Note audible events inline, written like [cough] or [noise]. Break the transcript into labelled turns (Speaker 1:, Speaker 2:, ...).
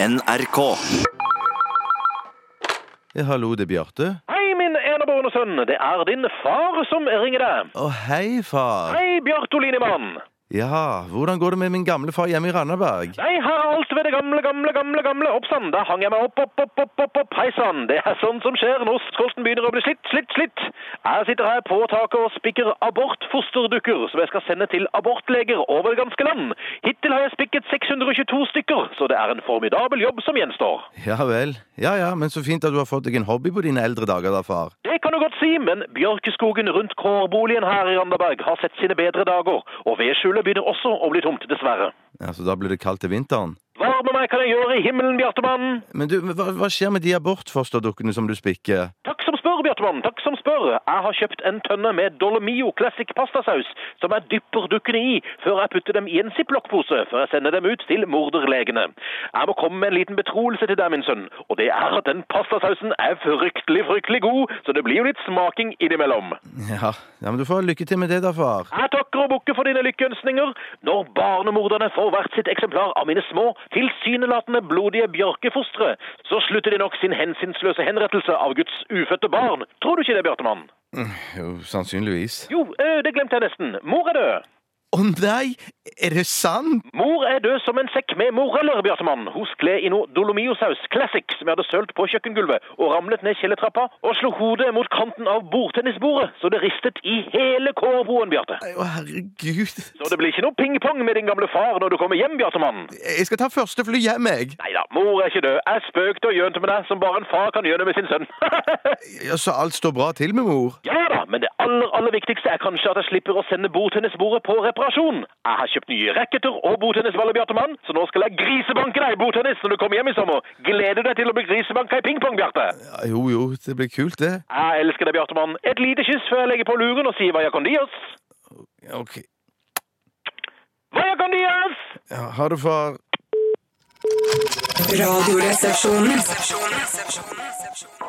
Speaker 1: NRK.
Speaker 2: Ja, hallo, det er Bjarte.
Speaker 3: Hei, min enebårne sønn. Det er din far som ringer deg.
Speaker 2: Å, hei, far.
Speaker 3: Hei, Bjarte Olinemann.
Speaker 2: Ja, hvordan går det med min gamle far hjemme i Randaberg?
Speaker 3: Nei, her er alt ved det gamle, gamle, gamle gamle. Opp sann, da hang jeg meg opp, opp, opp, opp, opp, opp. Hei sann, det er sånn som skjer når skolten begynner å bli slitt, slitt, slitt. Jeg sitter her på taket og spikker abortfosterdukker som jeg skal sende til abortleger over det ganske land. Hittil har jeg spikket 622 stykker, så det er en formidabel jobb som gjenstår.
Speaker 2: Ja vel. Ja ja, men så fint at du har fått deg en hobby på dine eldre dager, da, far.
Speaker 3: Det kan du godt si, men bjørkeskogen rundt kårboligen her i Randaberg har sett sine bedre dager, og vedskjulet begynner også å bli tomt, dessverre.
Speaker 2: Ja, Så da blir det kaldt til vinteren.
Speaker 3: Varme meg kan jeg gjøre i himmelen, Bjartemannen.
Speaker 2: Men du, hva, hva skjer med de abortfosterdukkene som du spikker?
Speaker 3: Takk som spør, Bjartemann. Takk som spør. Jeg har kjøpt en tønne med Dolomio Classic pastasaus, som jeg dypper dukkene i før jeg putter dem i en ziplock-pose før jeg sender dem ut til morderlegene. Jeg må komme med en liten betroelse til deg, min sønn, og det er at den pastasausen er fryktelig, fryktelig god, så det blir jo litt smaking innimellom.
Speaker 2: Ja, ja men du får ha lykke til med det, da, far.
Speaker 3: Jeg takker og bukker for dine lykkeønskninger. Når barnemorderne får hvert sitt eksemplar av mine små, tilsynelatende blodige bjørkefostre, så slutter de nok sin hensynsløse henrettelse av Guds ufødte barn. Tror du ikke det, Bjartemann?
Speaker 2: Jo, sannsynligvis.
Speaker 3: Jo, øh, det glemte jeg nesten. Mor er død.
Speaker 2: Å nei, er det sant?
Speaker 3: Mor er død som en sekk med moreller, Bjartemann. Hun skled i noe Dolomio-saus Classic som jeg hadde sølt på kjøkkengulvet, og ramlet ned kjellertrappa og slo hodet mot kanten av bordtennisbordet, så det ristet i hele kårboen, Bjarte.
Speaker 2: Å, herregud.
Speaker 3: Så det blir ikke noe ping-pong med din gamle far når du kommer hjem, Bjartemann.
Speaker 2: Jeg skal ta første fly hjem, jeg.
Speaker 3: Nei da, mor er ikke død. Jeg spøkte og gjønte med deg, som bare en far kan gjøne med sin sønn. [laughs]
Speaker 2: Ja, Så alt står bra til med mor?
Speaker 3: ja da, men det aller, aller viktigste er kanskje at jeg slipper å sende bordtennisbordet på reparasjon. Jeg har kjøpt nye racketer og bordtennisballer, Bjartemann, så nå skal jeg grisebanke deg i bordtennis når du kommer hjem i sommer. Gleder du deg til å bli grisebanka i pingpong, Bjarte.
Speaker 2: Ja, jo jo, det blir kult, det.
Speaker 3: Jeg elsker deg, Bjartemann. Et lite kyss før jeg legger på luren og sier vaya con dios.
Speaker 2: Ok.
Speaker 3: Vaya con dios!
Speaker 2: Ja, ha det, far.
Speaker 4: Radioresepsjonen.